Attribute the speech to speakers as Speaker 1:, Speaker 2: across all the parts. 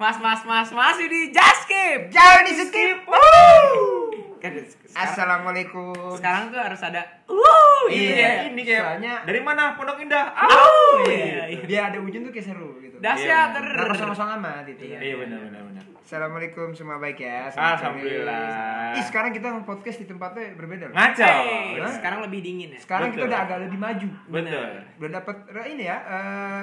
Speaker 1: Mas, mas, mas, mas, ini just skip.
Speaker 2: Jangan di skip.
Speaker 1: Kan sekarang,
Speaker 2: Assalamualaikum.
Speaker 1: sekarang tuh harus ada. Wuh,
Speaker 2: Iya,
Speaker 1: iya.
Speaker 2: ini kayak soalnya
Speaker 3: Dari mana Pondok Indah? Ah.
Speaker 1: Au,
Speaker 2: iya,
Speaker 1: iya.
Speaker 2: biar ada hujan tuh kayak seru gitu.
Speaker 1: Dahsyat.
Speaker 3: Iya.
Speaker 2: Nah, bersama-sama amat gitu ya.
Speaker 3: Iya benar benar benar.
Speaker 2: Assalamualaikum semua baik ya. Selamat
Speaker 3: Alhamdulillah.
Speaker 2: sore. Ih sekarang kita podcast di tempatnya berbeda. loh.
Speaker 3: Ngaco.
Speaker 1: Hey,
Speaker 2: Hah?
Speaker 1: sekarang lebih dingin ya.
Speaker 2: Sekarang kita
Speaker 3: Betul.
Speaker 2: udah agak lebih maju.
Speaker 3: Betul.
Speaker 2: Udah dapat eh, ini ya eh,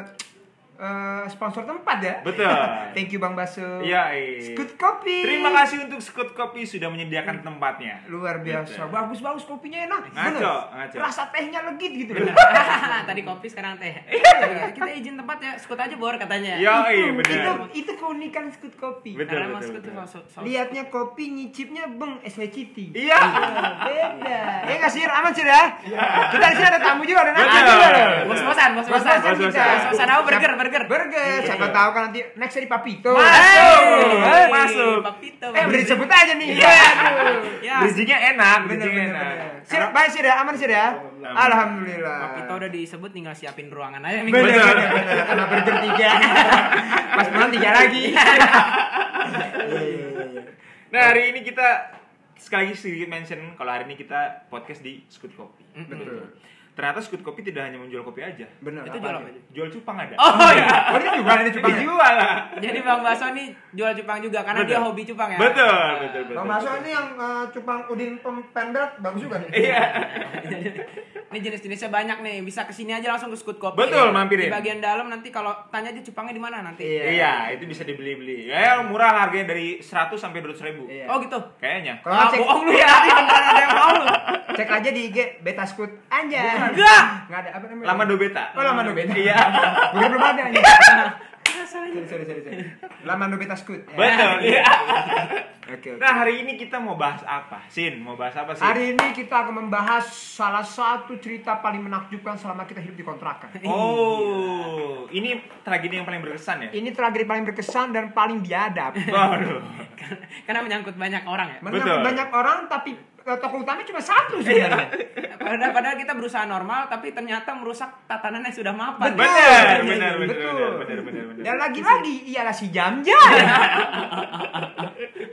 Speaker 2: eh, sponsor tempat ya.
Speaker 3: Betul.
Speaker 2: Thank you Bang Basu.
Speaker 3: Iya, iya.
Speaker 2: Scoot Kopi.
Speaker 3: Terima kasih untuk Scoot Kopi sudah menyediakan tempatnya.
Speaker 2: Luar biasa.
Speaker 3: Betul.
Speaker 2: Bagus-bagus kopinya enak.
Speaker 3: Ngaco,
Speaker 2: Bener.
Speaker 3: ngaco.
Speaker 2: Rasa tehnya legit gitu. loh.
Speaker 1: Tadi kopi sekarang teh.
Speaker 2: Iya.
Speaker 1: Kita izin tempat ya, skut aja bor katanya.
Speaker 3: Iya, iya
Speaker 2: itu
Speaker 3: benar.
Speaker 2: itu keunikan Scoot Kopi.
Speaker 3: Betul.
Speaker 1: Karena mas skut
Speaker 3: betul.
Speaker 1: tuh so, so,
Speaker 2: Lihatnya kopi, nyicipnya beng SWCT.
Speaker 3: Iya.
Speaker 2: Oh, beda. Ya nggak sih, aman sih ya. Kita di sini ada tamu juga, ada
Speaker 3: Betul.
Speaker 2: nanti juga. loh.
Speaker 1: Bos-bosan, bos-bosan.
Speaker 2: Bos-bosan kita.
Speaker 1: Bos-bosan apa burger, burger.
Speaker 2: Burger, siapa tahu kan nanti next di Papito.
Speaker 3: Masuk.
Speaker 2: Hey.
Speaker 1: Hey,
Speaker 3: Masuk.
Speaker 1: Papito.
Speaker 2: Eh, udah disebut aja nih.
Speaker 3: Iya.
Speaker 2: Aduh.
Speaker 1: Ya,
Speaker 3: Bridgingnya enak,
Speaker 2: Bener,
Speaker 3: bridgingnya
Speaker 2: bener,
Speaker 3: enak.
Speaker 2: bener. Sir, baik sih ya, aman sih ya. Alhamdulillah.
Speaker 1: Papito udah disebut tinggal siapin ruangan aja nih.
Speaker 2: Bener,
Speaker 3: Bener.
Speaker 2: bener, bener. Sama burger tiga. Pas pulang tiga lagi. Iya,
Speaker 3: Nah hari ini kita sekali lagi sedikit mention kalau hari ini kita podcast di Scoot Kopi.
Speaker 2: Betul.
Speaker 3: Ternyata Scoot Kopi tidak hanya menjual kopi aja.
Speaker 2: Bener.
Speaker 1: Itu
Speaker 2: apa
Speaker 1: jual Iya.
Speaker 2: nih?
Speaker 1: apa?
Speaker 3: Jual cupang ada.
Speaker 1: Oh iya.
Speaker 2: Oh, ini juga ada cuma.
Speaker 3: Dijual lah.
Speaker 1: Jadi Bang Baso nih jual cupang juga karena
Speaker 3: Betul.
Speaker 1: dia hobi cupang ya.
Speaker 3: Betul,
Speaker 1: Nah,
Speaker 3: betul, betul.
Speaker 2: Bang Maso ini yang eh, cupang udin pem- pemberet bagus juga nih.
Speaker 3: Iya.
Speaker 1: Ini jenis-jenisnya banyak nih. Bisa kesini aja langsung ke Scoot Kopi.
Speaker 3: Betul, mampirin.
Speaker 1: Di bagian dalam nanti kalau tanya aja cupangnya di mana nanti.
Speaker 2: Iya.
Speaker 3: Iya, itu bisa dibeli-beli. Ya, murah harganya dari 100 sampai 200 ribu.
Speaker 2: Iya.
Speaker 1: Oh gitu.
Speaker 3: Kayaknya.
Speaker 2: Kalau
Speaker 1: Ah,
Speaker 2: cek- Iya,
Speaker 1: bohong lu ya. Nanti beneran ada yang mau lu.
Speaker 2: Cek aja di IG Beta Scoot anjay.
Speaker 1: Enggak.
Speaker 2: Enggak ada apa namanya?
Speaker 3: Lama Dobeta.
Speaker 2: Oh, Lama Dobeta.
Speaker 3: Iya.
Speaker 2: Gue belum ada anjing.
Speaker 1: Masalahnya.
Speaker 2: Sorry, sorry, sorry, sorry. Lama Dobeta Scoot. Ya.
Speaker 3: Betul. Iya.
Speaker 2: Oke. oke.
Speaker 3: Nah, hari ini kita mau bahas apa? Sin, mau bahas apa sih?
Speaker 2: Hari ini kita akan membahas salah satu cerita paling menakjubkan selama kita hidup di kontrakan.
Speaker 3: Oh, ini tragedi yang paling berkesan ya?
Speaker 2: Ini tragedi paling berkesan dan paling biadab.
Speaker 3: Waduh.
Speaker 1: Karena menyangkut banyak orang ya.
Speaker 2: Menyangkut
Speaker 3: Betul. Iya.
Speaker 2: banyak orang tapi eh, tokoh utama cuma satu sebenarnya.
Speaker 1: Padahal, padahal kita berusaha normal tapi ternyata merusak tatanannya sudah mapan.
Speaker 3: Betul.
Speaker 2: Betul.
Speaker 3: Benar, benar, benar,
Speaker 2: Betul.
Speaker 3: benar, benar, benar, benar.
Speaker 2: Dan lagi-lagi ialah si Jam Jam.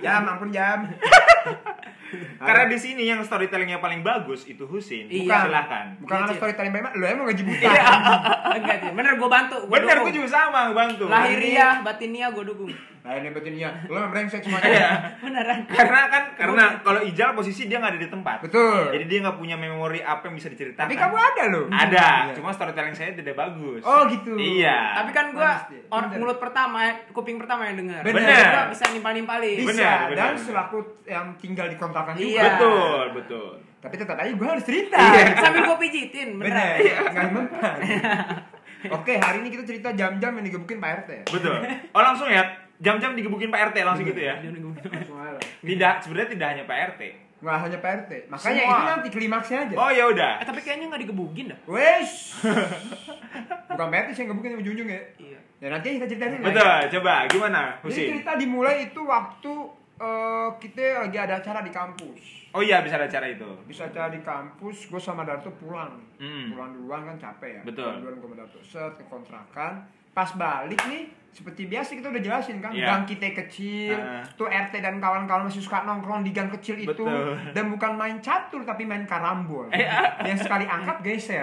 Speaker 2: jam, ampun Jam.
Speaker 3: Karena di sini yang storytellingnya paling bagus itu Husin.
Speaker 1: Iya.
Speaker 3: Bukan. Silahkan.
Speaker 2: Bukan
Speaker 1: Iya,
Speaker 2: anak
Speaker 1: Cid.
Speaker 2: storytelling memang, lo emang gaji buta.
Speaker 1: Iya.
Speaker 3: Iya.
Speaker 1: Enggak, Cid. bener gue bantu. Gua
Speaker 3: Bener,
Speaker 1: dukung.
Speaker 3: gue juga sama bantu.
Speaker 2: ya.
Speaker 1: Lahiriah, batinia gue dukung.
Speaker 2: Nah, ini betulnya, lo emang brengsek
Speaker 3: Iya.
Speaker 2: semuanya.
Speaker 1: Beneran.
Speaker 3: Karena kan, karena kalau Ijal posisi dia nggak ada di tempat.
Speaker 2: Betul.
Speaker 3: Jadi dia nggak punya memori apa yang bisa diceritakan.
Speaker 2: Tapi kamu ada lo.
Speaker 3: Ada,
Speaker 2: Iya.
Speaker 3: cuma storytelling saya tidak bagus.
Speaker 2: Oh, gitu.
Speaker 3: Iya.
Speaker 1: Tapi kan gue
Speaker 2: Manis dia.
Speaker 1: orang
Speaker 2: Bener.
Speaker 1: mulut pertama, eh, kuping pertama yang denger.
Speaker 2: Bener.
Speaker 1: Jadi gua bisa nimpal-nimpalin.
Speaker 2: bisa
Speaker 3: Benar, benar,
Speaker 2: dan
Speaker 3: benar.
Speaker 2: selaku yang tinggal di kontrakan
Speaker 1: Iya.
Speaker 2: juga.
Speaker 3: betul, betul.
Speaker 2: Tapi tetap aja gue harus cerita.
Speaker 3: Iya.
Speaker 1: Sambil gue pijitin,
Speaker 2: Benar.
Speaker 1: beneran.
Speaker 2: Enggak mempan. Oke, hari ini kita cerita jam-jam yang digebukin Pak RT.
Speaker 3: Betul. Oh, langsung ya. Jam-jam digebukin Pak RT langsung gitu ya.
Speaker 2: Iya.
Speaker 1: Iya.
Speaker 3: Tidak, sebenarnya tidak hanya Pak RT.
Speaker 2: Nggak hanya Pak RT. Makanya
Speaker 3: Semua.
Speaker 2: itu nanti klimaksnya aja.
Speaker 3: Oh, ya udah.
Speaker 1: Eh, tapi kayaknya nggak digebugin dah.
Speaker 2: Wes. Bukan Pak RT sih yang gebukin ujung-ujung ya.
Speaker 1: Iya.
Speaker 2: Ya nanti kita ceritain lagi.
Speaker 3: Betul, coba gimana,
Speaker 2: Jadi
Speaker 3: Husin?
Speaker 2: cerita dimulai itu waktu eh, kita lagi ada acara di kampus.
Speaker 3: Oh iya, bisa ada acara itu.
Speaker 2: Bisa acara di kampus, gue sama Darto pulang.
Speaker 3: Mm.
Speaker 2: Pulang duluan kan capek ya.
Speaker 3: Betul.
Speaker 2: Pulang duluan gue sama Darto set ke kontrakan. Pas balik nih, seperti biasa kita udah jelasin kan,
Speaker 3: Iya.
Speaker 2: gang kita kecil,
Speaker 3: Ah.
Speaker 2: tuh RT dan kawan-kawan masih suka nongkrong di gang kecil itu,
Speaker 3: Betul. Eh, ah.
Speaker 2: dan bukan main catur tapi main karambol, yang sekali angkat geser.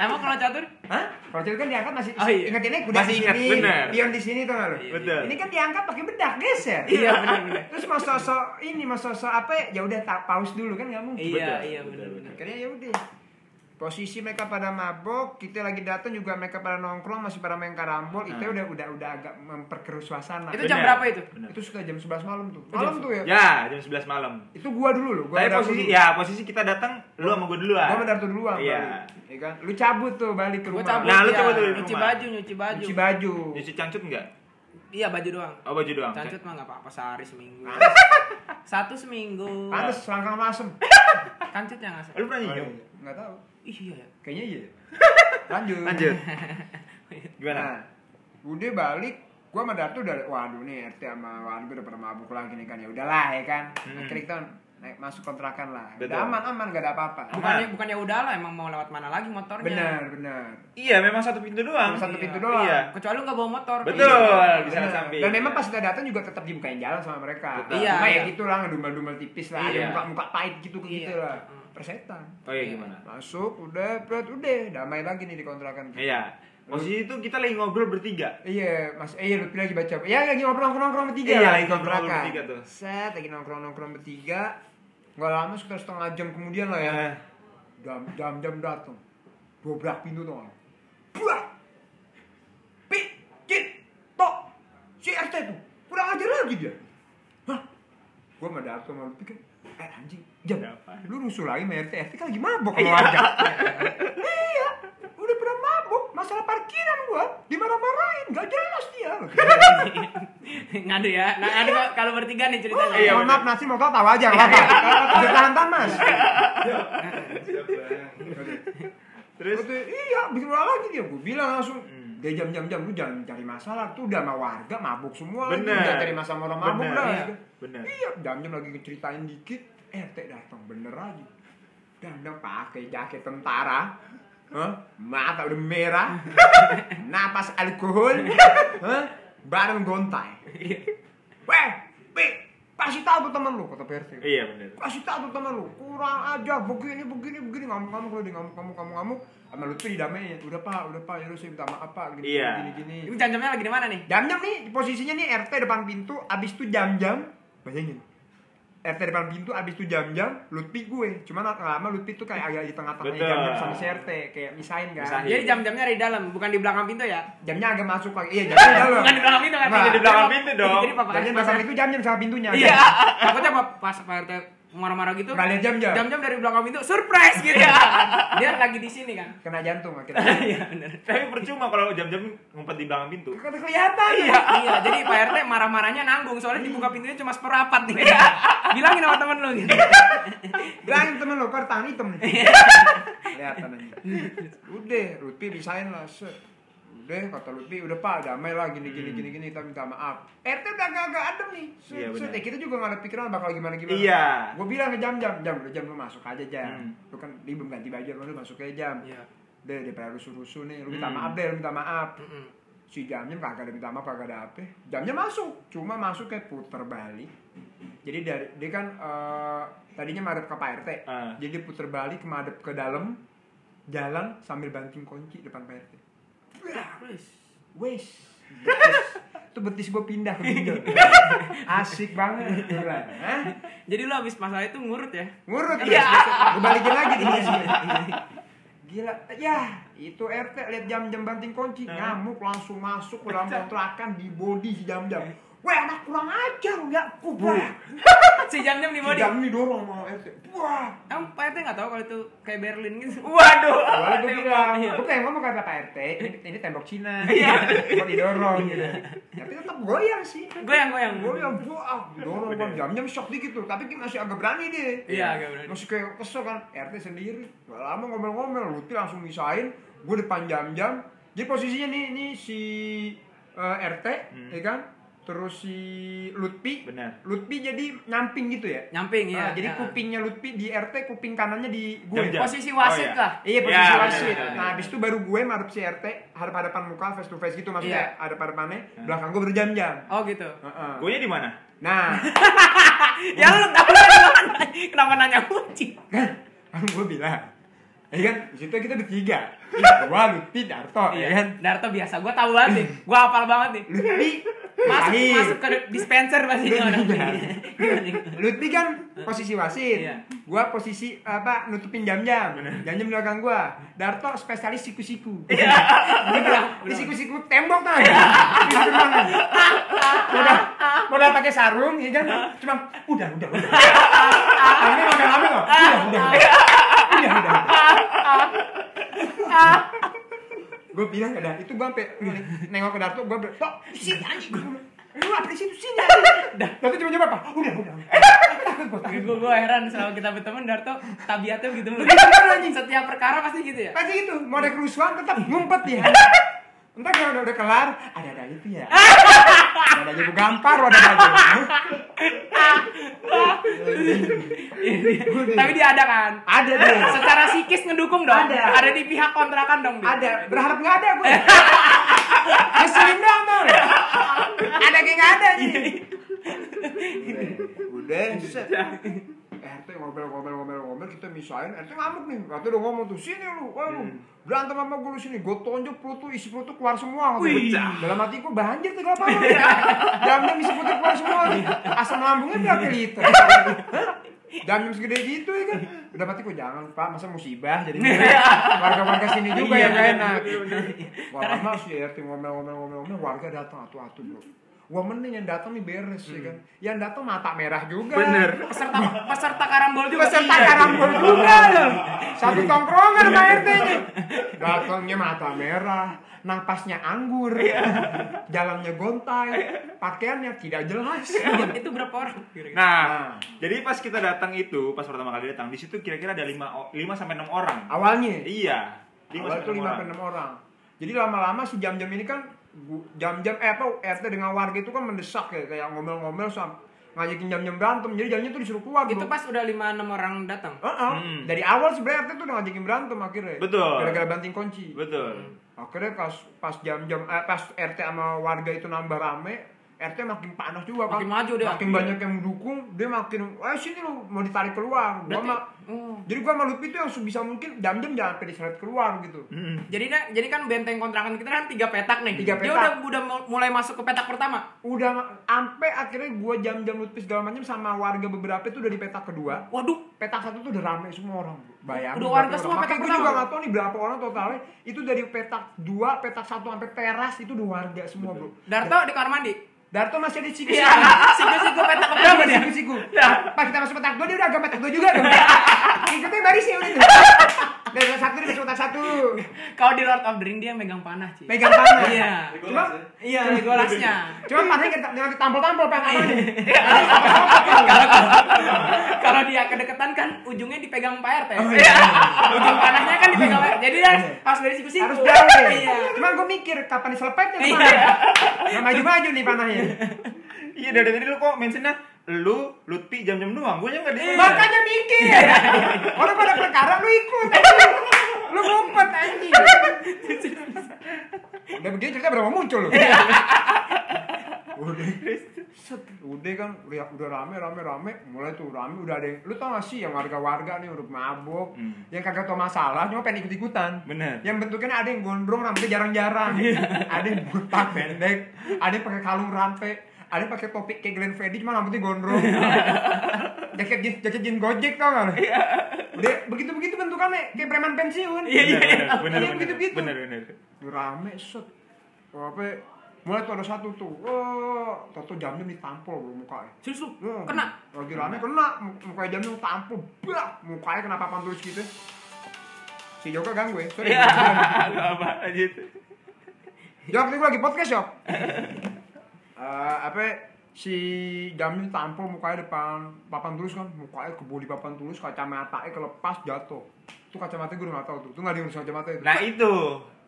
Speaker 1: Emang kalau catur?
Speaker 2: Hah? Kalau cewek kan diangkat masih
Speaker 1: Oh, iya.
Speaker 2: ingetinnya kuda
Speaker 3: Masih
Speaker 2: di
Speaker 3: ingat, Iya.
Speaker 2: sini,
Speaker 3: bener.
Speaker 2: pion di sini tuh lu.
Speaker 3: Betul.
Speaker 2: Ini kan diangkat pakai bedak geser.
Speaker 1: Iya, benar-benar.
Speaker 2: Terus mau sosok ini mau sosok apa ya? Ya udah tak paus dulu kan nggak mungkin.
Speaker 1: Iya,
Speaker 3: Betul,
Speaker 1: iya
Speaker 3: betul,
Speaker 1: benar-benar.
Speaker 2: Akhirnya ya udah. Posisi mereka pada mabok, kita lagi datang juga mereka pada nongkrong masih pada main karambol, itu udah udah udah agak memperkeruh suasana.
Speaker 1: Itu
Speaker 2: Itu,
Speaker 1: jam
Speaker 3: Benar.
Speaker 1: berapa itu?
Speaker 3: Benar.
Speaker 2: sudah jam 11 malam tuh. Malam
Speaker 1: jam-
Speaker 2: tuh ya.
Speaker 3: Ya, jam 11 malam.
Speaker 2: Itu gua dulu loh, gua
Speaker 3: Tapi
Speaker 2: ada Oh,
Speaker 3: posisi
Speaker 2: dulu.
Speaker 3: ya, posisi kita datang lu sama gua duluan.
Speaker 2: Gua mendar tuh duluan
Speaker 3: Iya.
Speaker 2: balik. Ya kan? Lu cabut tuh balik ke
Speaker 1: Gue
Speaker 2: rumah.
Speaker 1: cabut.
Speaker 3: Nah, lu
Speaker 1: ya.
Speaker 3: coba dulu di
Speaker 1: Nyuci
Speaker 3: rumah.
Speaker 1: baju, nyuci baju.
Speaker 2: Cuci baju.
Speaker 3: Nyuci cancut enggak?
Speaker 1: Iya, baju doang.
Speaker 3: Oh, baju doang.
Speaker 1: Cancut mah nggak apa-apa sehari seminggu. Satu seminggu.
Speaker 2: Pantes selangkang masem.
Speaker 1: Kancut yang ngasih.
Speaker 3: Lu pernah
Speaker 2: Oh,
Speaker 3: nyium?
Speaker 2: Enggak tahu.
Speaker 1: Ih, iya ya.
Speaker 2: Kayaknya iya. Lanjut.
Speaker 3: Lanjut. Gimana?
Speaker 2: Nah, udah Nah, balik, Gua sama Darto udah waduh nih RT sama Wan gua udah pernah mabuk lagi nih kan ya udahlah ya kan.
Speaker 3: Hmm.
Speaker 2: Akhirnya kita naik masuk kontrakan lah.
Speaker 3: Betul.
Speaker 2: Udah aman aman gak ada apa-apa.
Speaker 1: Bukannya bukannya udah lah emang mau lewat mana lagi motornya.
Speaker 2: Benar benar.
Speaker 3: Iya, memang satu pintu doang.
Speaker 2: Cuma satu
Speaker 1: Iya.
Speaker 2: pintu doang.
Speaker 3: Iya.
Speaker 1: Kecuali lu nggak bawa motor.
Speaker 3: Betul,
Speaker 1: Iya.
Speaker 3: bisa
Speaker 2: Benar.
Speaker 3: samping.
Speaker 2: Dan memang pas kita datang juga tetap dibukain jalan sama mereka.
Speaker 3: Betul.
Speaker 1: Iya,
Speaker 2: Cuma
Speaker 1: iya.
Speaker 2: ya gitu lah ngedumel-dumel tipis lah, ada
Speaker 3: Iya.
Speaker 2: muka-muka pahit gitu
Speaker 1: Iya.
Speaker 2: gitu lah.
Speaker 1: Mm.
Speaker 2: Persetan.
Speaker 3: Oh iya gimana?
Speaker 2: Masuk, udah, berat, udah, damai lagi nih di kontrakan.
Speaker 3: Iya. Posisi itu kita lagi ngobrol bertiga.
Speaker 2: Iya, Mas. Eh, iya, Lutfi lagi baca. Ya, lagi nongkrong-nongkrong bertiga.
Speaker 3: Iya,
Speaker 2: lah,
Speaker 3: lagi nongkrong-nongkrong
Speaker 2: kontrakan.
Speaker 3: bertiga tuh.
Speaker 2: Set, lagi nongkrong-nongkrong bertiga. Gak lama sekitar setengah jam kemudian lah ya.
Speaker 3: Eh.
Speaker 2: Jam jam jam datang. Dobrak pintu tuh. Buat. Pit, cit, tok. Si RT tuh. Kurang ajar lagi dia. Hah? Gua sama Darto sama Lutfi kan. Eh anjing, jam.
Speaker 3: Kenapa?
Speaker 2: Lu rusuh lagi sama RT. RT kan lagi mabok keluarga. iya. Udah pernah mabok, masalah parkiran gua dimarah-marahin, gak jelas dia.
Speaker 1: Ngadu ya. Nah, ngadu kok kalau bertiga nih ceritanya.
Speaker 3: Iya,
Speaker 2: Iya, mohon maaf nasi mau kau tahu aja, nggak apa-apa. Jangan tahan mas.
Speaker 3: Terus Hmm.
Speaker 2: Terus iya, bikin ulah lagi dia. Gue bilang langsung, dia jam-jam-jam lu jangan cari masalah. Tuh udah sama warga mabuk semua. lagi.
Speaker 3: Bener.
Speaker 2: Jangan cari masalah sama orang mabuk
Speaker 3: Bener,
Speaker 2: lah.
Speaker 3: iya. Bener.
Speaker 2: Iya, jam-jam lagi ceritain dikit. RT datang bener aja. Dandang pakai jaket tentara. Hah? Mata udah merah. Napas alkohol. Hah? Bareng gontai.
Speaker 3: Iya.
Speaker 2: Weh, Pi, kasih tahu tuh temen lu, kata PRT.
Speaker 3: iya benar.
Speaker 2: Kasih tahu tuh temen lu, kurang aja begini begini begini ngamuk-ngamuk lu, dia ngamuk-ngamuk ngamuk-ngamuk. Sama lu tuh didamain, udah pak, udah pak, ya lu saya minta maaf pak, gini
Speaker 3: Iya.
Speaker 2: gini gini.
Speaker 1: Itu jam-jamnya lagi di mana nih?
Speaker 2: Jam-jam nih, posisinya nih RT depan pintu, abis itu jam-jam, bayangin. RT depan pintu, abis itu jam-jam, Lutfi gue. Cuman lama Lutfi tuh kayak agak di tengah-tengah
Speaker 3: Betul.
Speaker 2: jam-jam sama si RT. Kayak misahin kan.
Speaker 3: Misahin.
Speaker 1: Jadi jam-jamnya ada di dalam, bukan di belakang pintu ya?
Speaker 2: Jamnya agak masuk lagi. Iya, jamnya dalam.
Speaker 1: Bukan di Iya. belakang pintu kan?
Speaker 2: Nah,
Speaker 3: Jadi di belakang pintu dong.
Speaker 1: Jadi Pak
Speaker 2: Jamnya
Speaker 1: pas-
Speaker 2: belakang itu jam-jam sama pintunya.
Speaker 1: Iya. Takutnya Pak pas Pak RT marah-marah gitu.
Speaker 2: Nggak lihat jam-jam.
Speaker 1: Jam-jam dari belakang pintu surprise gitu. Dia lagi di sini kan.
Speaker 2: Kena jantung akhirnya.
Speaker 1: Iya benar.
Speaker 3: Tapi percuma kalau jam-jam ngumpet di belakang pintu.
Speaker 2: Kata kelihatan.
Speaker 1: Iya. iya, jadi Pak RT marah-marahnya nanggung soalnya dibuka pintunya cuma seperapat nih. Bilangin sama temen lu gitu.
Speaker 2: Bilangin temen lo, kar tangan hitam nih. Kelihatan aja. Udah, Lutfi bisain lah. set. Udah, kata Lutfi, udah pak, damai lah gini gini gini gini, kita minta maaf. RT udah agak-agak adem nih. Set,
Speaker 3: Iya,
Speaker 2: set.
Speaker 3: benar.
Speaker 2: Ya, kita juga gak ada pikiran bakal gimana gimana.
Speaker 3: Iya.
Speaker 2: Gue bilang ke jam jam, jam udah jam lu masuk aja jam.
Speaker 3: Hmm.
Speaker 2: Lu kan libur ganti baju, lu masuk aja jam.
Speaker 1: Iya.
Speaker 2: Udah, daripada rusuh-rusuh nih, lu minta
Speaker 3: Hmm.
Speaker 2: maaf deh, lu minta maaf.
Speaker 1: Mm-mm.
Speaker 2: si jamnya kagak ada minta maaf kagak ada apa jamnya masuk cuma masuk kayak puter balik jadi dari dia kan eh, tadinya madep ke Pak RT
Speaker 3: Ah.
Speaker 2: jadi puter balik madep ke dalam jalan sambil banting kunci depan Pak RT wes betis. itu betis gue pindah ke pinggir asik banget eh? gila. Hah?
Speaker 1: Jadi lu habis masalah itu ngurut ya?
Speaker 2: ngurut
Speaker 1: Iya.
Speaker 2: gue balikin lagi ke sini gila ya itu RT lihat jam-jam banting kunci ngamuk langsung masuk ke dalam kontrakan di body si jam-jam weh anak kurang ajar nggak kubah
Speaker 1: Si jam-jam di
Speaker 2: si
Speaker 1: body.
Speaker 2: jam ini dorong mau RT wah
Speaker 1: Emang Pak RT nggak tahu kalau itu kayak Berlin gitu.
Speaker 3: Waduh.
Speaker 2: Lalu gue bilang,
Speaker 1: Iya.
Speaker 2: gue pengen ngomong kata Pak RT, ini, ini tembok Cina, kok didorong gitu. Tapi tetap goyang sih.
Speaker 1: Goyang-goyang.
Speaker 2: Goyang, wah, didorong kan jam-jam shock dikit tuh, tapi dia masih agak berani deh.
Speaker 1: Iya, agak berani.
Speaker 2: Masih kayak kesel kan, RT sendiri. Gak lama ngomel-ngomel, Lutfi langsung misahin, gue depan jam-jam. Jadi posisinya nih, nih si eh, RT, ya kan? Terus si Lutfi,
Speaker 3: Benar.
Speaker 2: Lutfi jadi nyamping gitu ya.
Speaker 1: Nyamping
Speaker 2: Nah,
Speaker 1: ya.
Speaker 2: jadi
Speaker 1: Nah.
Speaker 2: kupingnya Lutfi di RT, kuping kanannya di gue.
Speaker 3: Jam-jam.
Speaker 1: Posisi wasit
Speaker 3: Oh, iya.
Speaker 1: lah.
Speaker 2: Iya
Speaker 3: Ya,
Speaker 2: posisi
Speaker 3: benar,
Speaker 2: wasit.
Speaker 3: benar,
Speaker 2: Nah
Speaker 3: benar.
Speaker 2: habis itu baru gue madep si RT hadap-hadapan muka face to face gitu maksudnya
Speaker 1: Iya.
Speaker 2: hadap hadapannya belakang gue berjam-jam.
Speaker 1: Oh gitu.
Speaker 2: Heeh.
Speaker 3: Gonya di mana?
Speaker 2: Nah
Speaker 1: Ya lu tahu lah kenapa nanya- kenapa nanya kucing?
Speaker 2: kan gue bilang, ya kan di situ kita bertiga, gue Lutfi Darto, ya kan.
Speaker 1: Iya. Darto biasa, gue tahu banget nih, gue hafal banget nih.
Speaker 2: Lutfi
Speaker 1: Masuk
Speaker 2: Zahir.
Speaker 1: masuk ke dispenser pasti
Speaker 2: Iya.
Speaker 1: orang Gimana?
Speaker 2: Lutfi kan posisi wasit,
Speaker 1: Iya.
Speaker 2: gue posisi apa nutupin jam-jam, jam-jam di belakang gue. Darto spesialis siku-siku.
Speaker 1: Iya. Dia bilang,
Speaker 2: di siku-siku tembok kan Gitu banget. udah modal pakai sarung ya kan cuma udah udah udah kami modal apa kok udah udah udah udah gue bilang ke Darto itu gue sampai nengok ke Darto gue bilang tok sini anjing lu apa di situ sini anjing Darto cuma jawab apa udah udah
Speaker 1: gue gue heran selama kita berteman Darto tabiatnya begitu mulu. Setiap perkara pasti gitu ya.
Speaker 2: pasti itu mau ada kerusuhan tetap ngumpet dia Entar kalau udah, udah kelar, ada ada itu ya. ada aja gue gampar, ada aja.
Speaker 1: Tapi dia ada kan?
Speaker 2: Ada deh.
Speaker 1: Secara psikis ngedukung dong.
Speaker 2: Ada.
Speaker 1: di pihak kontrakan dong. Bi.
Speaker 2: Ada, berharap nggak ada gue. Ngeselin doang tau ya. Ada kayak nggak ada nih. Udah, set. RT ngomel ngomel ngomel ngomel kita misahin RT ngamuk nih RT udah ngomong tuh sini lu wah lu berantem sama gue lu sini gue tonjok perut tuh isi perut tuh keluar semua kata
Speaker 1: Wih.
Speaker 2: gue. dalam hati gue banjir tuh apa lu ya. jam jam isi perut tuh keluar semua nih asam lambungnya berapa liter jam jam segede gitu ya kan udah hati gue jangan pak masa musibah jadi warga-warga sini juga yang gak enak Iya,
Speaker 1: Iya.
Speaker 2: Wah lama sih RT ngomel-ngomel-ngomel warga datang atu-atu bro. Wah mending yang datang nih beres
Speaker 1: Hmm.
Speaker 2: ya kan. Yang datang mata merah juga.
Speaker 3: Bener.
Speaker 1: Peserta peserta karambol juga.
Speaker 2: Peserta
Speaker 1: Iya.
Speaker 2: karambol juga. loh. Satu tongkrongan Pak RT
Speaker 1: Iya.
Speaker 2: nya. Datangnya mata merah, napasnya anggur,
Speaker 1: Iya.
Speaker 2: jalannya gontai, pakaiannya tidak jelas.
Speaker 1: Itu berapa orang? kira-kira?
Speaker 3: Nah,
Speaker 2: Nah.
Speaker 3: jadi pas kita datang itu, pas pertama kali datang, di situ kira-kira ada 5 lima sampai 6 orang.
Speaker 2: Awalnya,
Speaker 3: Iya. lima
Speaker 2: awal
Speaker 3: sampai
Speaker 2: itu
Speaker 3: enam
Speaker 2: lima sampai enam orang. Jadi lama-lama si jam-jam ini kan gu- jam-jam eh apa RT dengan warga itu kan mendesak ya kayak ngomel-ngomel sam ngajakin jam-jam berantem. Jadi jamnya tuh disuruh keluar.
Speaker 1: Itu
Speaker 2: bro.
Speaker 1: pas udah 5 6 orang datang.
Speaker 2: Heeh.
Speaker 3: Hmm.
Speaker 2: Dari awal sebenarnya RT tuh udah ngajakin berantem akhirnya.
Speaker 3: Betul.
Speaker 2: Gara-gara banting kunci.
Speaker 3: Betul.
Speaker 2: Hmm. Akhirnya pas pas jam-jam eh, pas RT sama warga itu nambah rame, RT makin panas juga kan.
Speaker 1: Makin maju dia.
Speaker 2: Makin
Speaker 3: Iya.
Speaker 2: banyak yang mendukung, dia makin eh sini lu mau ditarik keluar. Gua
Speaker 1: Berarti-
Speaker 2: mah
Speaker 1: Oh.
Speaker 2: jadi gua sama Lutfi tuh yang sebisa mungkin jam-jam jangan sampai diseret keluar gitu.
Speaker 3: Mm-mm.
Speaker 1: Jadi nah, jadi kan benteng kontrakan kita kan tiga petak nih.
Speaker 2: Tiga
Speaker 1: Dia
Speaker 2: petak.
Speaker 1: udah udah mul- mulai masuk ke petak pertama.
Speaker 2: Udah ma- ampe akhirnya gua jam-jam Lutfi segala macam sama warga beberapa itu udah di petak kedua.
Speaker 1: Waduh,
Speaker 2: petak satu tuh udah rame semua orang bayangin
Speaker 1: Udah
Speaker 2: berapa
Speaker 1: warga semua
Speaker 2: orang.
Speaker 1: petak
Speaker 2: Makanya gue
Speaker 1: pertama.
Speaker 2: juga gak tau nih berapa orang totalnya itu dari petak dua petak satu sampai teras itu udah warga semua bro
Speaker 1: Darto di kamar mandi.
Speaker 2: Darto masih ada siku
Speaker 1: Iya, siku-siku petak pertama
Speaker 2: Berapa
Speaker 1: dia.
Speaker 2: siku siku pas kita masuk petak dua dia udah agak petak dua juga dong ikutnya barisnya udah tuh dari petak satu dia masuk petak satu
Speaker 1: Kalau di Lord of the Ring dia yang megang panah, Ci.
Speaker 2: megang tangan
Speaker 1: Iya.
Speaker 2: cuma
Speaker 1: Iya, Legolasnya.
Speaker 2: cuma panahnya kita jangan ditampol-tampol pak
Speaker 1: Iya. Kalau dia kedeketan kan ujungnya dipegang Pak RT. Iya. Ujung panahnya kan dipegang Pak RT. Jadi dia harus dari siku-siku.
Speaker 2: harus jauh deh
Speaker 1: Iya.
Speaker 2: cuma gue mikir kapan diselepetnya
Speaker 1: Iya.
Speaker 2: kemana nggak maju-maju nih panahnya
Speaker 3: Iya dari tadi lu kok mentionnya lu Lutfi jam-jam doang, gue nggak di
Speaker 1: Iya.
Speaker 2: Makanya mikir. Orang pada perkara lu ikut. lu ngumpet anjing. Udah begini cerita berapa muncul lu?
Speaker 1: Iya.
Speaker 2: Udah. Set. Udah kan udah, udah rame rame rame mulai tuh rame udah ada yang- lu tau gak sih yang warga-warga nih udah mabuk
Speaker 3: Hmm.
Speaker 2: yang kagak tau masalah cuma pengen ikut-ikutan
Speaker 3: Bener. Iya.
Speaker 2: yang bentuknya ada yang gondrong rambutnya jarang-jarang ada yang botak pendek ada yang pakai kalung rantai ada yang pakai topik kayak Glenn Freddy cuma rambutnya gondrong
Speaker 3: Iya.
Speaker 2: jaket jeans jaket jeans gojek tau gak lu?
Speaker 3: Iya.
Speaker 2: udah begitu begitu bentukannya kayak preman pensiun
Speaker 1: Iya, iya.
Speaker 3: bener
Speaker 2: Ada yang
Speaker 3: bener
Speaker 2: begitu-begitu.
Speaker 3: bener bener.
Speaker 2: Ya, rame set apa mulai tuh ada satu tuh oh tato jamnya ditampol bro mukanya
Speaker 1: Serius lu?
Speaker 2: Hmm.
Speaker 1: Kena.
Speaker 2: lagi rame kena Mu- mukanya jamnya tampol bah mukanya kenapa papan tulis gitu si Joka ganggu ya sorry
Speaker 3: Iya.
Speaker 1: Iya.
Speaker 3: Gak apa lanjut.
Speaker 2: Jok, ini gue lagi podcast, Jok. Eh, apa si Jamil tampol mukanya depan papan tulis kan mukanya kebuli papan tulis kacamatanya kelepas jatuh itu kacamata gue udah gak tau tuh itu gak diurus kacamata itu
Speaker 3: Nah itu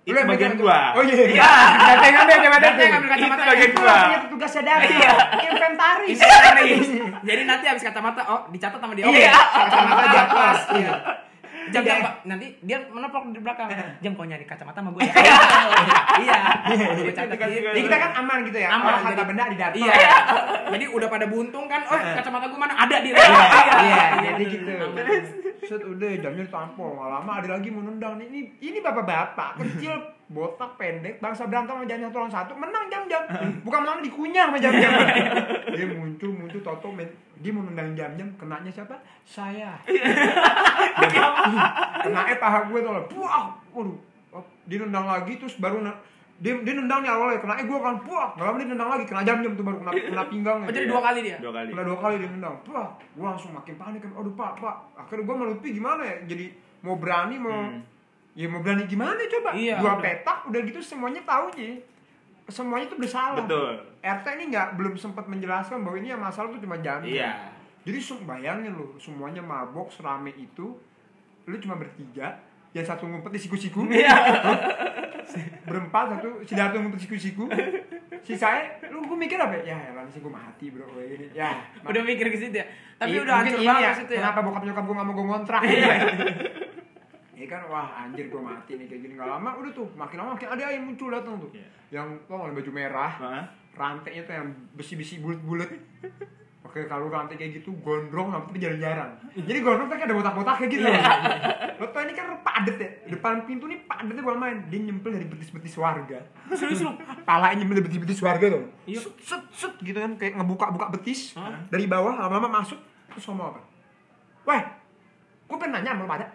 Speaker 2: Lu
Speaker 3: itu
Speaker 2: yang
Speaker 3: bagian
Speaker 2: megang
Speaker 3: gua.
Speaker 2: oh iya iya Datang yang ngambil kacamata
Speaker 1: Datang yang ngambil
Speaker 3: Itu
Speaker 1: kacamata. ya.
Speaker 3: bagian
Speaker 2: kan itu
Speaker 3: gua.
Speaker 2: artinya tugas sadar
Speaker 1: Gitu Iya.
Speaker 2: inventaris
Speaker 1: Inventaris. Jadi nanti habis kacamata oh dicatat sama dia. Oke.
Speaker 2: iya kacamata jatuh iya
Speaker 1: Jam jam Pak. nanti dia menepok di belakang. Jam kau nyari kacamata sama gue. ya? Iya. Gue catat
Speaker 3: Itu kan
Speaker 1: gitu.
Speaker 3: juga-
Speaker 2: jadi kita kan aman gitu ya
Speaker 1: Aman,
Speaker 2: aman harta
Speaker 1: jadi-
Speaker 2: benda di data
Speaker 1: Iya. Jadi udah pada buntung kan, oh kacamata gue mana ada di
Speaker 2: Iya,
Speaker 1: rumah.
Speaker 2: iya, jadi gitu. Set udah jamnya ditampol, nggak lama ada lagi mau nendang nih. Ini ini bapak-bapak kecil botak pendek bangsa berantem sama jam satu lawan satu menang jam jam bukan menang dikunyah sama jam jam
Speaker 1: Iya.
Speaker 2: dia muncul muncul toto men dia mau nendang jam jam kenanya siapa saya kenanya paha gue tuh buah waduh Oh, dia nendang lagi terus baru ne- dia, dia nendang nih awalnya kenanya gue kan buah nggak lama dia nendang lagi kena jam jam tuh baru kena kena pinggangnya
Speaker 1: Oh, jadi dua kali dia.
Speaker 3: Dua kali.
Speaker 2: Udah dua kali dia nendang, pak, gue langsung makin panik kan, aduh pak, pak, akhirnya gue melupi gimana ya, jadi mau berani mau,
Speaker 3: Hmm.
Speaker 2: ya mau berani gimana coba,
Speaker 1: Iya,
Speaker 2: dua
Speaker 1: udah.
Speaker 2: petak udah gitu semuanya taunya, semuanya tuh bersalah.
Speaker 3: Betul.
Speaker 2: RT ini nggak belum sempat menjelaskan bahwa ini yang masalah tuh cuma jamin.
Speaker 3: Iya.
Speaker 2: Jadi sem- bayangin lo, semuanya mabok
Speaker 3: Iya.
Speaker 2: serame itu, lu cuma bertiga, yang satu ngumpet di siku-siku, berempat satu si Darto ngutus siku-siku si saya lu gue mikir apa ya heran sih gue mati bro gue ini ya ma-
Speaker 1: udah mikir ke situ ya. Tapi
Speaker 2: Iya,
Speaker 1: udah
Speaker 2: mungkin
Speaker 1: hancur
Speaker 2: ini
Speaker 1: banget ke situ ya.
Speaker 2: kenapa bokap nyokap gue gak mau gue ngontrak Iya. Iya kan wah anjir gue mati nih kayak gini gak lama udah tuh makin lama makin ada yang muncul datang tuh
Speaker 3: Iya.
Speaker 2: yang tau nggak, baju merah
Speaker 3: Heeh.
Speaker 2: rantainya tuh yang besi-besi bulat-bulat Oke kalau rantai kayak gitu gondrong tapi jarang-jarang. Jadi gondrong tuh kayak ada botak-botak kayak gitu.
Speaker 1: Iya.
Speaker 2: Lo tau ini kan padet ya. Depan pintu nih padetnya gua main. Dia nyempil dari betis-betis warga.
Speaker 1: Serius lu.
Speaker 2: Palanya nyempil dari betis-betis warga tuh.
Speaker 1: Iya.
Speaker 2: Set, set, set gitu kan kayak ngebuka-buka betis
Speaker 1: Hah?
Speaker 2: dari bawah lama-lama masuk terus ngomong apa? Weh, gue pernah nanya sama lu pada.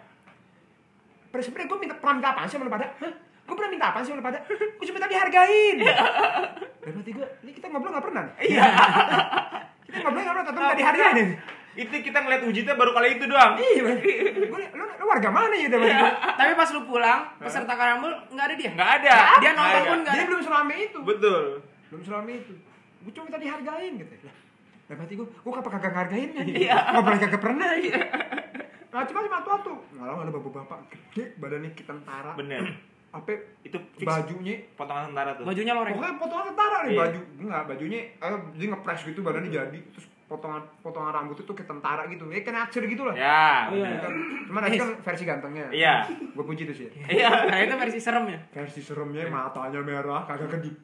Speaker 2: Pada sebenernya gue minta pernah minta apaan sih sama lu pada? Hah? Gue pernah minta apaan sih sama lu pada? Gue cuma minta dihargain. Dan berarti gue, ini kita ngobrol gak pernah nih? Iya. kita ngobrol gak pernah, tapi minta dihargain.
Speaker 3: Itu kita ngeliat wujudnya baru kali itu doang.
Speaker 2: Iya, Bang. Gua liat, lu, lu warga mana ya? Dari
Speaker 1: Tapi pas lu pulang, peserta karambol nggak ada dia.
Speaker 3: Enggak ada.
Speaker 1: Dia nonton
Speaker 3: Nggak
Speaker 1: pun
Speaker 3: ada.
Speaker 1: nggak
Speaker 2: Dia
Speaker 1: ada.
Speaker 2: belum selama itu.
Speaker 3: Betul.
Speaker 2: belum selama itu gue cuma minta dihargain gitu lah dalam hati gue gue kagak kagak ngargain kan iya. ngobrol kagak pernah iya. nah cuma cuma tua tuh ngalau ada bapak bapak gede badannya kayak tentara
Speaker 3: Bener.
Speaker 2: apa
Speaker 3: Itu fix
Speaker 2: bajunya
Speaker 3: potongan tentara tuh.
Speaker 1: Bajunya loreng.
Speaker 2: pokoknya potongan tentara nih
Speaker 3: Iya.
Speaker 2: baju enggak bajunya eh, dia ngepres gitu badannya jadi terus potongan potongan rambutnya tuh kayak tentara gitu ya kena acer gitu lah
Speaker 3: Ya.
Speaker 1: Oh, iya.
Speaker 3: bener.
Speaker 2: cuma tadi kan versi gantengnya
Speaker 3: Iya.
Speaker 2: gue puji tuh sih
Speaker 3: Iya.
Speaker 1: Nah, itu versi serem ya.
Speaker 2: versi seremnya matanya merah kagak kedip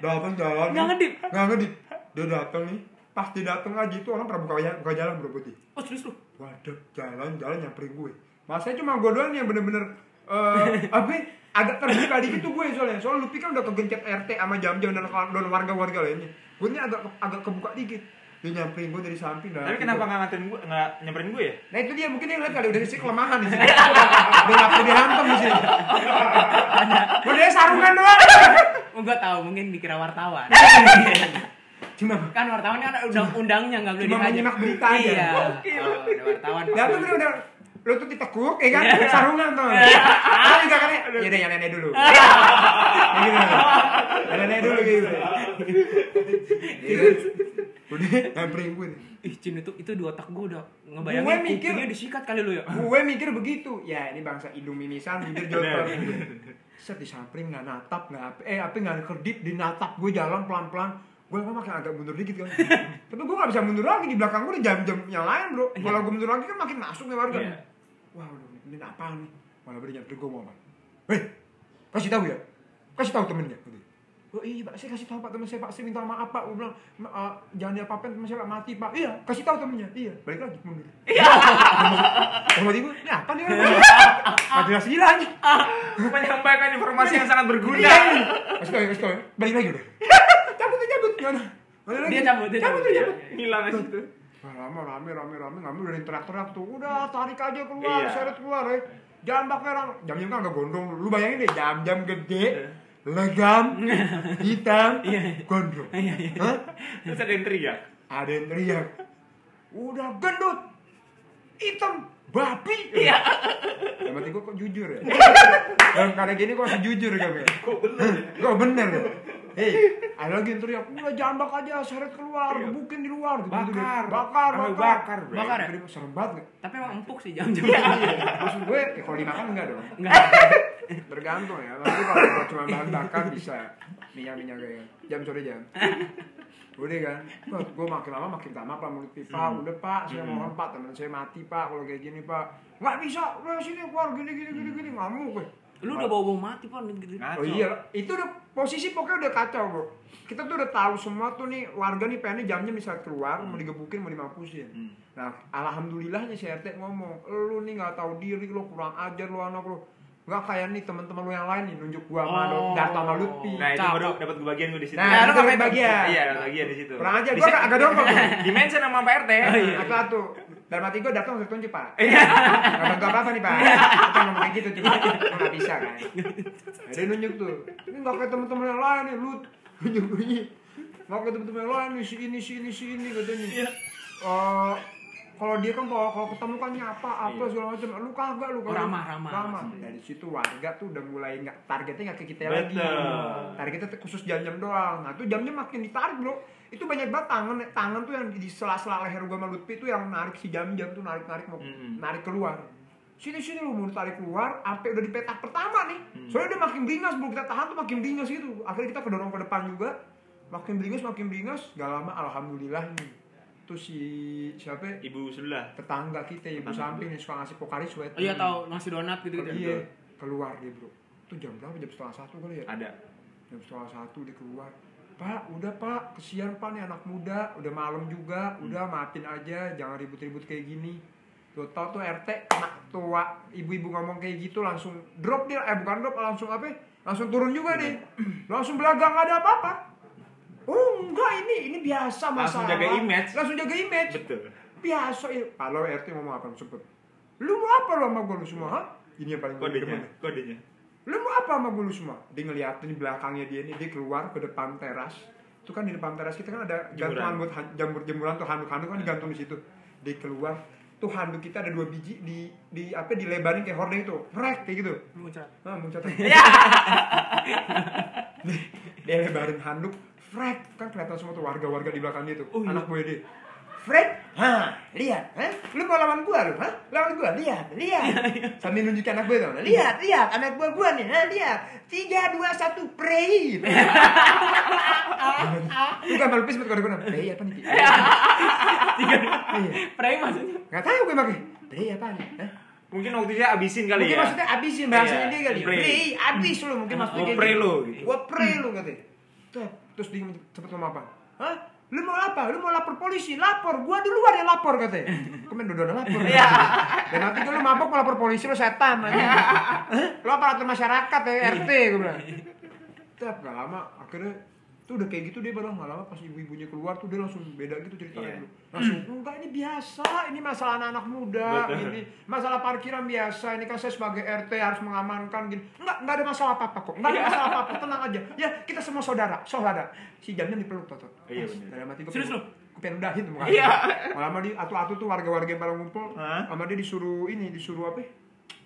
Speaker 2: datang jalan
Speaker 1: Nggak ngedip.
Speaker 2: nggak ngedip dia datang nih pas dia datang lagi itu orang pernah buka, jalan- buka jalan bro putih
Speaker 1: Oh, serius lu.
Speaker 2: waduh jalan jalan nyamperin gue masanya cuma gue doang yang bener-bener eh apa ya, agak terbuka dikit tuh gue soalnya soalnya Lupi kan udah kegencet RT sama jam-jam dan, dan warga-warga lainnya gue ini agak agak kebuka dikit dia nyamperin gue dari samping dan
Speaker 3: Tapi kenapa nggak nganterin gue, nggak nyamperin gue ya?
Speaker 2: Nah itu dia mungkin dia ngeliat ada udah sih kelemahan di sini. Udah nggak perlu dihantam di sini. Udah dia sarungan doang.
Speaker 1: Oh, gua tahu mungkin dikira wartawan.
Speaker 2: Cuma
Speaker 1: Kan wartawan kan ada undang-undangnya nggak boleh
Speaker 2: Cuma
Speaker 1: dihajar.
Speaker 2: menyimak berita aja.
Speaker 1: Iya. Oh, ada wartawan.
Speaker 2: Nah tuh dia udah lu tuh ditekuk ya kan sarungan tuh. Ah juga kan ya udah yang nenek dulu. Ya gitu. Yang nenek dulu gitu. Iya. Udah nyamperin gue nih.
Speaker 1: Ih, Cin itu itu di otak gua udah ngebayangin
Speaker 2: Gue mikir-
Speaker 1: kupingnya disikat kali lu ya.
Speaker 2: gue mikir begitu ya ini bangsa hidung mimisan bibir jontor set disamperin nggak natap nggak apa eh apa nggak kedip di natap gue jalan pelan pelan gue emang makin agak mundur dikit kan tapi gue nggak bisa mundur lagi di belakang gue udah jam-jam yang lain bro kalau gue mundur lagi kan makin masuk nih warga
Speaker 3: Iya.
Speaker 2: wah udah ini apa nih malah beri nyamperin gue mau apa hei kasih tahu ya kasih tahu temennya gitu. Oh iya pak, saya kasih tahu pak teman saya pak, saya minta maaf pak, gue bilang "Ma- eh, jangan diapa-apain teman saya pak mati pak. Iya, kasih tahu temennya. Iya, balik lagi mundur. Sama tiba, ini apa nih orang? Ada nasi gila aja.
Speaker 3: Menyampaikan informasi yang sangat
Speaker 1: Iya.
Speaker 3: berguna.
Speaker 2: Kasih tau ya, kasih tau ya. Balik lagi udah. Cabut ya, cabut. Gimana? Balik lagi.
Speaker 1: Dia cabut, dia
Speaker 2: cabut.
Speaker 1: cabut. Iya,
Speaker 2: dia cabut.
Speaker 3: Hilang aja itu.
Speaker 2: Wah, Lama, rame, rame, rame. Ngambil dari teriak-teriak tuh. Udah, tarik aja keluar,
Speaker 3: Iya.
Speaker 2: seret keluar ya. Jambak merah. Jam-jam kan agak gondrong. Lu bayangin deh, jam-jam gede. Legam, hitam, gondrong. Hah?
Speaker 3: Terus ada yang teriak.
Speaker 2: Ada yang teriak. Udah gendut, hitam, babi. Yang penting gue kok jujur ya. Dalam karya gini kok masih jujur kan ya. Kok bener? Kok bener ya? Hei, ada lagi yang teriak, udah jambak aja, seret keluar, gebukin di luar. Gitu, gitu,
Speaker 3: Bakar.
Speaker 2: bakar,
Speaker 3: Sampai
Speaker 2: bakar.
Speaker 3: bakar, bro.
Speaker 1: Bakar Iya. ya?
Speaker 2: Gede, Serem banget gak?
Speaker 1: Tapi emang empuk sih jam-jam.
Speaker 2: Maksud gue, ya kalau dimakan enggak dong.
Speaker 1: Enggak.
Speaker 2: Tergantung ya, tapi kalau kalau cuma bahan bakar bisa. Minyak-minyak kayak jam sore jam. Udah kan, gue, gue makin lama makin lama pak mulut pipa,
Speaker 1: Hmm.
Speaker 2: udah pak, saya mohon pak, teman saya mati pak, kalau kayak gini pak, nggak bisa, udah sini keluar gini gini gini gini, ngamuk gue.
Speaker 1: Lu udah bawa-bawa mati, Pon. Gitu.
Speaker 2: Oh
Speaker 3: Ngaco.
Speaker 2: iya, itu udah posisi pokoknya udah kacau bro. Kita tuh udah tahu semua tuh nih warga nih pengennya jamnya bisa keluar, mau digebukin, mau dimampusin.
Speaker 3: Hmm.
Speaker 2: Nah, alhamdulillahnya si RT ngomong, lu nih nggak tahu diri, lu kurang ajar lu anak lu. Nggak kayak nih teman-teman lu yang lain nih nunjuk gua sama lu,
Speaker 1: Oh.
Speaker 2: Darto sama Lutfi.
Speaker 3: Nah itu
Speaker 1: Cakep.
Speaker 3: baru dapat kebagian gue di situ.
Speaker 2: Nah,
Speaker 1: Nah, lu
Speaker 2: itu
Speaker 1: ngapain
Speaker 2: bagian.
Speaker 3: Iya, dapat kebagian di situ.
Speaker 2: Kurang aja, gua
Speaker 3: Di
Speaker 2: kan?
Speaker 3: situ-
Speaker 2: agak- agak dongkol.
Speaker 3: Di mention sama Pak RT.
Speaker 1: Oh, iya.
Speaker 2: Atau satu, dalam hati gua Darto nggak tunjuk pak. Nggak bantu apa-apa nih pak. Kita ngomong kayak gitu, cuma nggak bisa kan. Nah, dia nunjuk tuh, ini nggak kayak teman-teman yang lain nih, lu nunjuk gue ini. Nggak kayak teman-teman yang lain nih, si ini, si ini, si ini katanya. Eh, kalau dia kan kalau kalau ketemu kan nyapa apa
Speaker 3: Iya.
Speaker 2: segala macam lu kagak lu kagak.
Speaker 1: Ramah, ramah.
Speaker 2: dari situ warga tuh udah mulai nggak targetnya nggak ke kita
Speaker 3: Betul.
Speaker 2: lagi targetnya tuh khusus jam-jam doang nah tuh jamnya makin ditarik bro itu banyak banget tangan tangan tuh yang di sela-sela leher gua sama Lutfi tuh yang narik si jam-jam tuh narik-narik mau
Speaker 3: Mm-mm.
Speaker 2: narik keluar sini-sini lu baru tarik keluar, sampai udah di petak pertama nih. Soalnya udah makin beringas, belum kita tahan tuh makin beringas gitu. Akhirnya kita kedorong ke depan juga, makin beringas, makin beringas. Gak lama, alhamdulillah nih. Tuh si siapa? ya?
Speaker 3: Ibu sebelah.
Speaker 2: Tetangga kita, ya, ibu
Speaker 3: Tetangga.
Speaker 2: samping yang suka ngasih pokari sweat.
Speaker 1: Oh iya tahu nasi donat gitu gitu.
Speaker 2: Iya, keluar dia bro. Itu jam berapa? Jam setengah satu kali ya?
Speaker 3: Ada.
Speaker 2: jam setengah satu dia keluar pak udah pak kesian pak nih anak muda udah malam juga
Speaker 3: Hmm.
Speaker 2: udah maafin aja jangan ribut-ribut kayak gini tuh tau tuh RT anak tua ibu-ibu ngomong kayak gitu langsung drop dia eh bukan drop langsung apa ya? langsung turun
Speaker 3: Iya.
Speaker 2: juga nih langsung belagang nggak ada apa-apa oh enggak ini ini biasa
Speaker 3: Langsung
Speaker 2: masalah
Speaker 3: jaga image.
Speaker 2: langsung jaga image
Speaker 3: Betul.
Speaker 2: biasa ya kalau RT ngomong apa cepet lu mau apa lu sama gue lu semua ha? ini yang paling gue
Speaker 3: Kodenya,
Speaker 2: demen
Speaker 3: kodenya.
Speaker 2: lu mau apa sama gue lu semua? Dia ngeliatin di belakangnya dia nih, dia keluar ke depan teras. Itu kan di depan teras kita kan ada gantung
Speaker 3: Jemuran.
Speaker 2: handuk, jambur jemuran tuh handuk-handuk kan digantung di situ. Dia keluar, tuh handuk kita ada dua biji di di apa dilebarin kayak hordeng itu, prek kayak gitu.
Speaker 1: Lu ngucap.
Speaker 2: Nah, muncrat. dia lebarin handuk, frek kan kelihatan semua tuh warga-warga di belakang dia tuh,
Speaker 1: Oh, iya.
Speaker 2: anak gue dia. Fred, ha, lihat, ha? Lu mau lawan gua lu, ha? Lawan gua, lihat, lihat.
Speaker 1: Iya,
Speaker 2: Sambil nunjukin anak gue tuh, lihat, lihat, anak gua gua nih, ha, lihat. Tiga, dua, satu, pray. Lu kan malu pismet kode gue, pray apa nih? Ki? Iya.
Speaker 1: Pray maksudnya.
Speaker 2: Nggak tahu gue pakai. Pray apa nih? Hah?
Speaker 3: Mungkin waktu itu dia abisin kali
Speaker 2: mungkin
Speaker 3: ya.
Speaker 2: maksudnya abisin bahasanya
Speaker 3: Iya,
Speaker 2: dia kali.
Speaker 3: pray.
Speaker 2: Pray, abis lu mungkin maksudnya.
Speaker 3: Gua
Speaker 2: kayak
Speaker 3: pray
Speaker 2: gitu.
Speaker 3: lu, gitu.
Speaker 2: Gua pray lu katanya. Tuh, terus dia cepet ngomong apa? Hah? Lu mau apa? Lu mau lapor polisi? Lapor. Gua duluan yang lapor katanya. Kemen udah lapor. Iya. Dan nanti kalau lu mabok mau lapor polisi lu setan aja. Hah? lu aparatur masyarakat ya RT gua bilang. Tuh, gak lama akhirnya tuh udah kayak gitu dia baru nggak lama pas ibu-ibunya keluar tuh dia langsung beda gitu ceritanya
Speaker 3: Iya.
Speaker 2: dulu. langsung enggak ini biasa ini masalah anak-anak muda
Speaker 3: Betul.
Speaker 2: ini masalah parkiran biasa ini kan saya sebagai RT harus mengamankan gini enggak enggak ada masalah apa-apa kok enggak ada
Speaker 3: Iya.
Speaker 2: masalah apa-apa tenang aja ya kita semua saudara saudara si jamnya dipeluk Toto
Speaker 3: Iya,
Speaker 2: Mas,
Speaker 3: bener.
Speaker 2: dalam hati gue
Speaker 1: Serius
Speaker 2: pengen-
Speaker 1: lu?
Speaker 2: gue pengen udahin tuh mukanya.
Speaker 1: Iya.
Speaker 2: malam dia atu-atu tuh warga-warga yang pada ngumpul
Speaker 3: Hah?
Speaker 2: sama dia disuruh ini disuruh apa ya?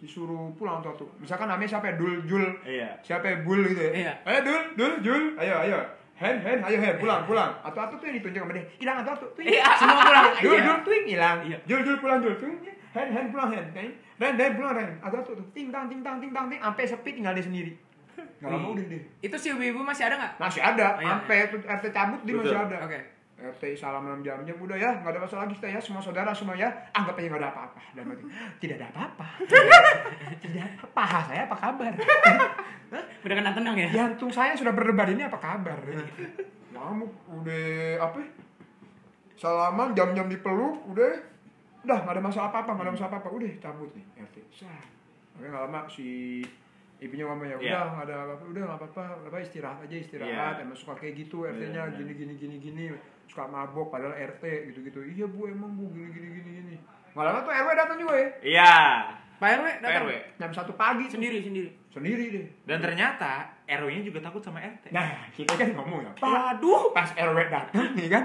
Speaker 2: disuruh pulang tuh tuh misalkan namanya siapa ya Dul Jul
Speaker 3: Iya.
Speaker 2: siapa ya Bul gitu ya
Speaker 1: Iya.
Speaker 2: ayo Dul Dul Jul ayo ayo Hen, hen, ayo hen, pulang, pulang. Atau atu tuh yang ditunjuk sama dia, hilang atau atu, tuh
Speaker 1: Iya, semua pulang.
Speaker 2: Jul,
Speaker 1: Iya.
Speaker 2: Jul, twing hilang.
Speaker 1: Iya.
Speaker 2: Jul, Jul pulang, Jul, twing. Hen, hen pulang, hen. Hen, Ren, Ren pulang, Ren. Ada tuh, tuh. Ting tang, ting tang, ting tang, ting. Sampai sepi tinggal dia sendiri. Gak lama udah deh.
Speaker 1: Itu si ibu-ibu masih ada nggak?
Speaker 2: Masih
Speaker 1: Iya. Oh,
Speaker 2: ada,
Speaker 1: iya.
Speaker 2: sampai tuh RT cabut dia masih
Speaker 3: Betul.
Speaker 2: ada.
Speaker 1: Oke.
Speaker 2: RT salam enam jamnya udah ya, nggak ada masalah lagi kita ya, semua saudara semua ya, anggap aja nggak ada apa-apa. Dan mati, tidak ada apa-apa. tidak ada apa saya apa kabar?
Speaker 1: Udah kena tenang ya.
Speaker 2: Jantung saya sudah berdebar ini apa kabar? Ngamuk udah apa? ya? Salaman jam-jam dipeluk udah udah nggak ada masalah apa-apa nggak ada masalah apa-apa udah cabut nih RT. Sah. Oke nggak lama si ibunya ngomong ya udah
Speaker 3: Iya.
Speaker 2: nggak ada apa-apa udah nggak apa-apa apa istirahat aja istirahat
Speaker 3: Iya.
Speaker 2: emang suka kayak gitu RT-nya
Speaker 3: Iya,
Speaker 2: gini gini gini gini suka mabok padahal RT gitu gitu iya bu emang bu gini gini gini gini nggak lama tuh RW datang juga ya
Speaker 3: Iya.
Speaker 1: Pak RW datang.
Speaker 3: RW.
Speaker 2: jam satu pagi
Speaker 1: Sendiri sendiri.
Speaker 2: sendiri deh
Speaker 3: Dan ternyata RW-nya juga takut sama RT.
Speaker 2: nah kita kan ngomong ya pak
Speaker 1: Waduh.
Speaker 2: pas RW datang
Speaker 1: Hmm,
Speaker 2: nih kan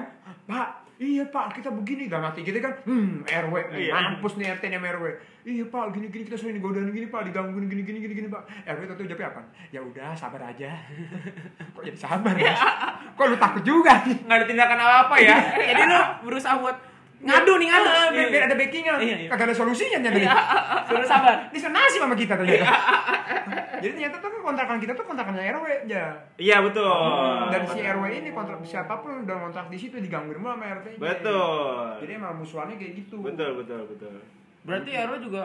Speaker 2: pak iya pak kita begini dalam hati kita kan hmm RW nih,
Speaker 3: Iya.
Speaker 2: mampus nih RT nih sama RW iya pak gini gini kita sering digodain gini pak digangguin gini gini gini gini pak RW tentu jawabnya apa ya udah sabar aja kok jadi sabar ya
Speaker 1: Iya.
Speaker 2: kok lu takut juga nih
Speaker 3: Nggak ada tindakan apa-apa ya.
Speaker 1: Jadi lu berusaha buat ngadu nih ngadu.
Speaker 2: Ah,
Speaker 1: Iya,
Speaker 2: biar,
Speaker 1: iya.
Speaker 2: biar ada backingan
Speaker 1: Iya, iya.
Speaker 2: kagak ada solusinya nyari
Speaker 1: Suruh sabar.
Speaker 2: disenasi sama kita
Speaker 1: Iya.
Speaker 2: ternyata jadi ternyata tuh kan kontrakan kita tuh kontrakannya RW ya
Speaker 3: Iya, betul.
Speaker 2: Hmm, dan si RW ini kontrak siapapun udah kontrak di situ digangguin mulu sama RT -nya.
Speaker 3: Betul.
Speaker 2: jadi emang musuhannya kayak gitu
Speaker 3: Betul, betul, betul.
Speaker 1: Berarti RW juga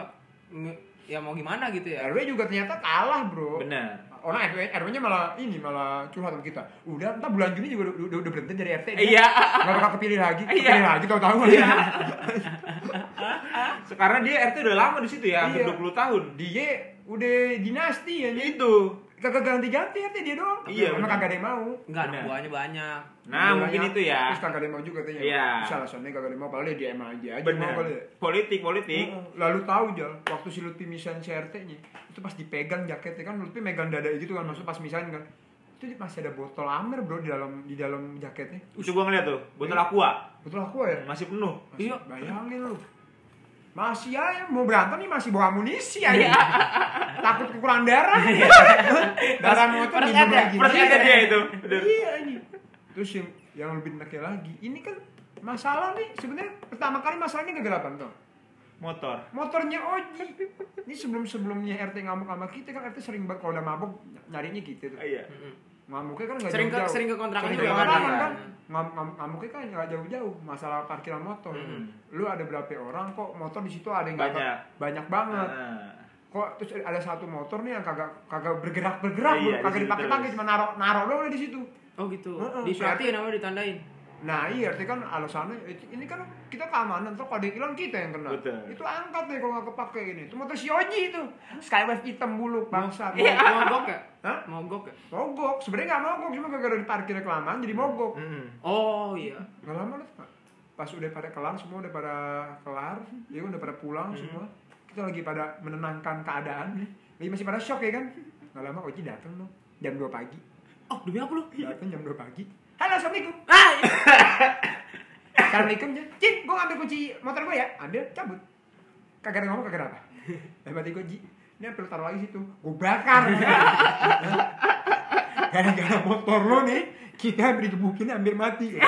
Speaker 1: nge- ya mau gimana gitu ya.
Speaker 2: RW juga ternyata kalah bro
Speaker 3: Benar.
Speaker 2: orang RW RW-nya malah ini malah curhat sama kita udah entah bulan Juni juga udah, udah, udah berhenti dari RT dia.
Speaker 3: Iya.
Speaker 2: nggak bakal kepilih lagi
Speaker 3: Iya.
Speaker 2: kepilih lagi tahu-tahu
Speaker 3: Sekarang dia RT udah lama di situ ya, hampir
Speaker 2: Iya.
Speaker 3: 20 tahun.
Speaker 2: dia udah dinasti ya dia
Speaker 3: Itu.
Speaker 2: kagak ganti-ganti RT dia doang
Speaker 3: Iya,
Speaker 2: emang
Speaker 3: bener.
Speaker 2: kagak ada yang mau
Speaker 1: Enggak anak
Speaker 3: Benar.
Speaker 1: buahnya banyak.
Speaker 3: Nah,
Speaker 2: Iya,
Speaker 3: mungkin
Speaker 2: banyak.
Speaker 3: itu ya.
Speaker 2: terus kagak ada yang mau juga katanya
Speaker 3: Iya.
Speaker 2: bisa alasannya kagak ada yang mau padahal dia emang aja aja
Speaker 3: Benar.
Speaker 2: mau kali ya
Speaker 3: Politik, politik.
Speaker 2: Heeh. Lalu tahu Jal, waktu si Lutfi misain si RT-nya, itu pas dipegang jaketnya kan Lutfi megang dada gitu kan, maksudnya pas misain kan. Itu di- masih ada botol Amer bro di dalam di dalam jaketnya.
Speaker 3: Itu gua ngeliat tuh, botol
Speaker 2: Iya.
Speaker 3: aqua
Speaker 2: Betul aku ya?
Speaker 3: masih penuh.
Speaker 2: Masih-
Speaker 1: Iya.
Speaker 2: Bayangin lu. Masih aja mau berantem nih masih bawa amunisi aja. Takut kekurangan darah. darah motor
Speaker 1: Pers-
Speaker 2: minum
Speaker 1: ada,
Speaker 2: lagi.
Speaker 1: pers-
Speaker 3: Percaya
Speaker 1: Iya.
Speaker 3: dia itu. Bener.
Speaker 2: Iya ini. Terus yang, yang lebih enaknya lagi, ini kan masalah nih sebenarnya pertama kali masalahnya gara-gara apa tuh?
Speaker 3: motor.
Speaker 2: motornya Oji ini sebelum sebelumnya RT ngamuk sama kita kan RT sering banget kalau udah mabuk nyarinya gitu tuh
Speaker 3: Ah, iya.
Speaker 1: Mm-mm.
Speaker 2: ngamuknya kan nggak
Speaker 1: Sering ke-
Speaker 2: jauh-jauh
Speaker 1: sering ke kontrakan
Speaker 2: Sering
Speaker 1: juga
Speaker 2: ke
Speaker 1: kan?
Speaker 2: kontrakan kan
Speaker 1: Iya.
Speaker 2: Ngam- ngam- ngamuknya kan nggak jauh-jauh masalah parkiran motor
Speaker 1: Mm.
Speaker 2: lu ada berapa orang kok motor di situ ada yang nggak-
Speaker 3: Hmm. Banyak.
Speaker 2: banyak banget
Speaker 3: Ah.
Speaker 2: kok terus ada satu motor nih yang kagak kagak bergerak bergerak
Speaker 3: Iya, di
Speaker 2: kagak
Speaker 3: situ
Speaker 2: dipakai-pakai
Speaker 3: terus.
Speaker 2: cuma naruh naruh doang udah di situ
Speaker 1: Oh gitu.
Speaker 2: Heeh.
Speaker 1: Disuatin namanya ditandain.
Speaker 2: Nah iya artinya kan alasannya eh, ini kan kita keamanan terus kalau ada yang hilang kita yang kena.
Speaker 3: Betul.
Speaker 2: Itu angkat deh kalau nggak kepake ini. Itu motor si Oji itu. Skywave hitam bulu bangsa.
Speaker 1: Mogok ya?
Speaker 2: Hah?
Speaker 1: Mogok ya?
Speaker 2: Mogok. Sebenarnya nggak mogok cuma gara-gara di parkir kelamaan jadi mogok.
Speaker 3: Mm-mm.
Speaker 1: Oh iya.
Speaker 2: Nggak lama lu Pak. pas udah pada kelar semua udah pada kelar, ya udah pada pulang semua. Kita lagi pada menenangkan keadaan nih. Lagi masih pada shock ya kan. Nggak lama Oji datang loh jam 2 pagi.
Speaker 1: Oh demi apa lu?
Speaker 2: Datang jam 2 pagi. Halo, assalamualaikum.
Speaker 1: Ah, iya.
Speaker 2: Assalamualaikum Jin. Jin, gue ngambil kunci motor gue ya. Ambil, cabut. Kagak ada ngomong, kagak ada apa. Eh, mati gue, Ji. Ini hampir taruh lagi situ. Gue bakar. Gara-gara motor lo nih, kita hampir digebukin hampir mati.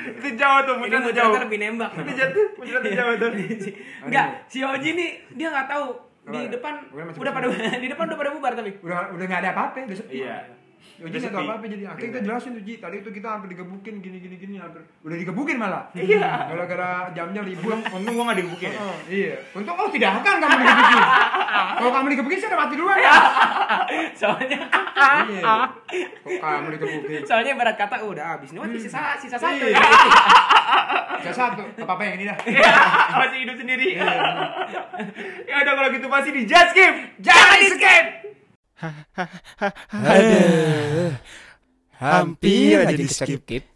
Speaker 3: Itu jauh tuh,
Speaker 1: ini
Speaker 3: muncrat
Speaker 1: gue
Speaker 3: tuh jauh.
Speaker 1: ternyata lebih nembak.
Speaker 3: Itu jatuh, muncrat tuh jauh tuh.
Speaker 1: Enggak, si Oji nih dia nggak tahu di
Speaker 2: Apa?
Speaker 1: depan
Speaker 2: Bukan macam-
Speaker 1: udah pada di depan udah pada bubar tapi.
Speaker 2: Udah udah gak ada apa-apa, udah sepi.
Speaker 3: Iya.
Speaker 2: Udah
Speaker 3: Udah
Speaker 2: Ji nggak
Speaker 3: sepi.
Speaker 2: tahu apa-apa jadi akhirnya kita jelasin tuh Ji, tadi itu kita hampir digebukin gini gini gini hampir udah digebukin malah. Iya. Gara-gara jamnya libur.
Speaker 3: Untung gua nggak digebukin ya.
Speaker 2: Oh, iya. Untung oh tidak akan kamu digebukin. Kalau kamu digebukin saya udah mati duluan
Speaker 3: Iya.
Speaker 2: ya.
Speaker 1: Soalnya
Speaker 2: Iya. Kok kamu digebukin?
Speaker 1: soalnya ibarat kata "Oh, udah habis nih. Wah, sisa sisa satu.
Speaker 2: Hmm. Iya. Gak satu, apa-apa yang ini dah.
Speaker 3: Masih hidup sendiri.
Speaker 2: iya.
Speaker 3: Ya udah kalau gitu pasti di judge game.
Speaker 1: Jangan di skip.
Speaker 4: Hampir aja di skip.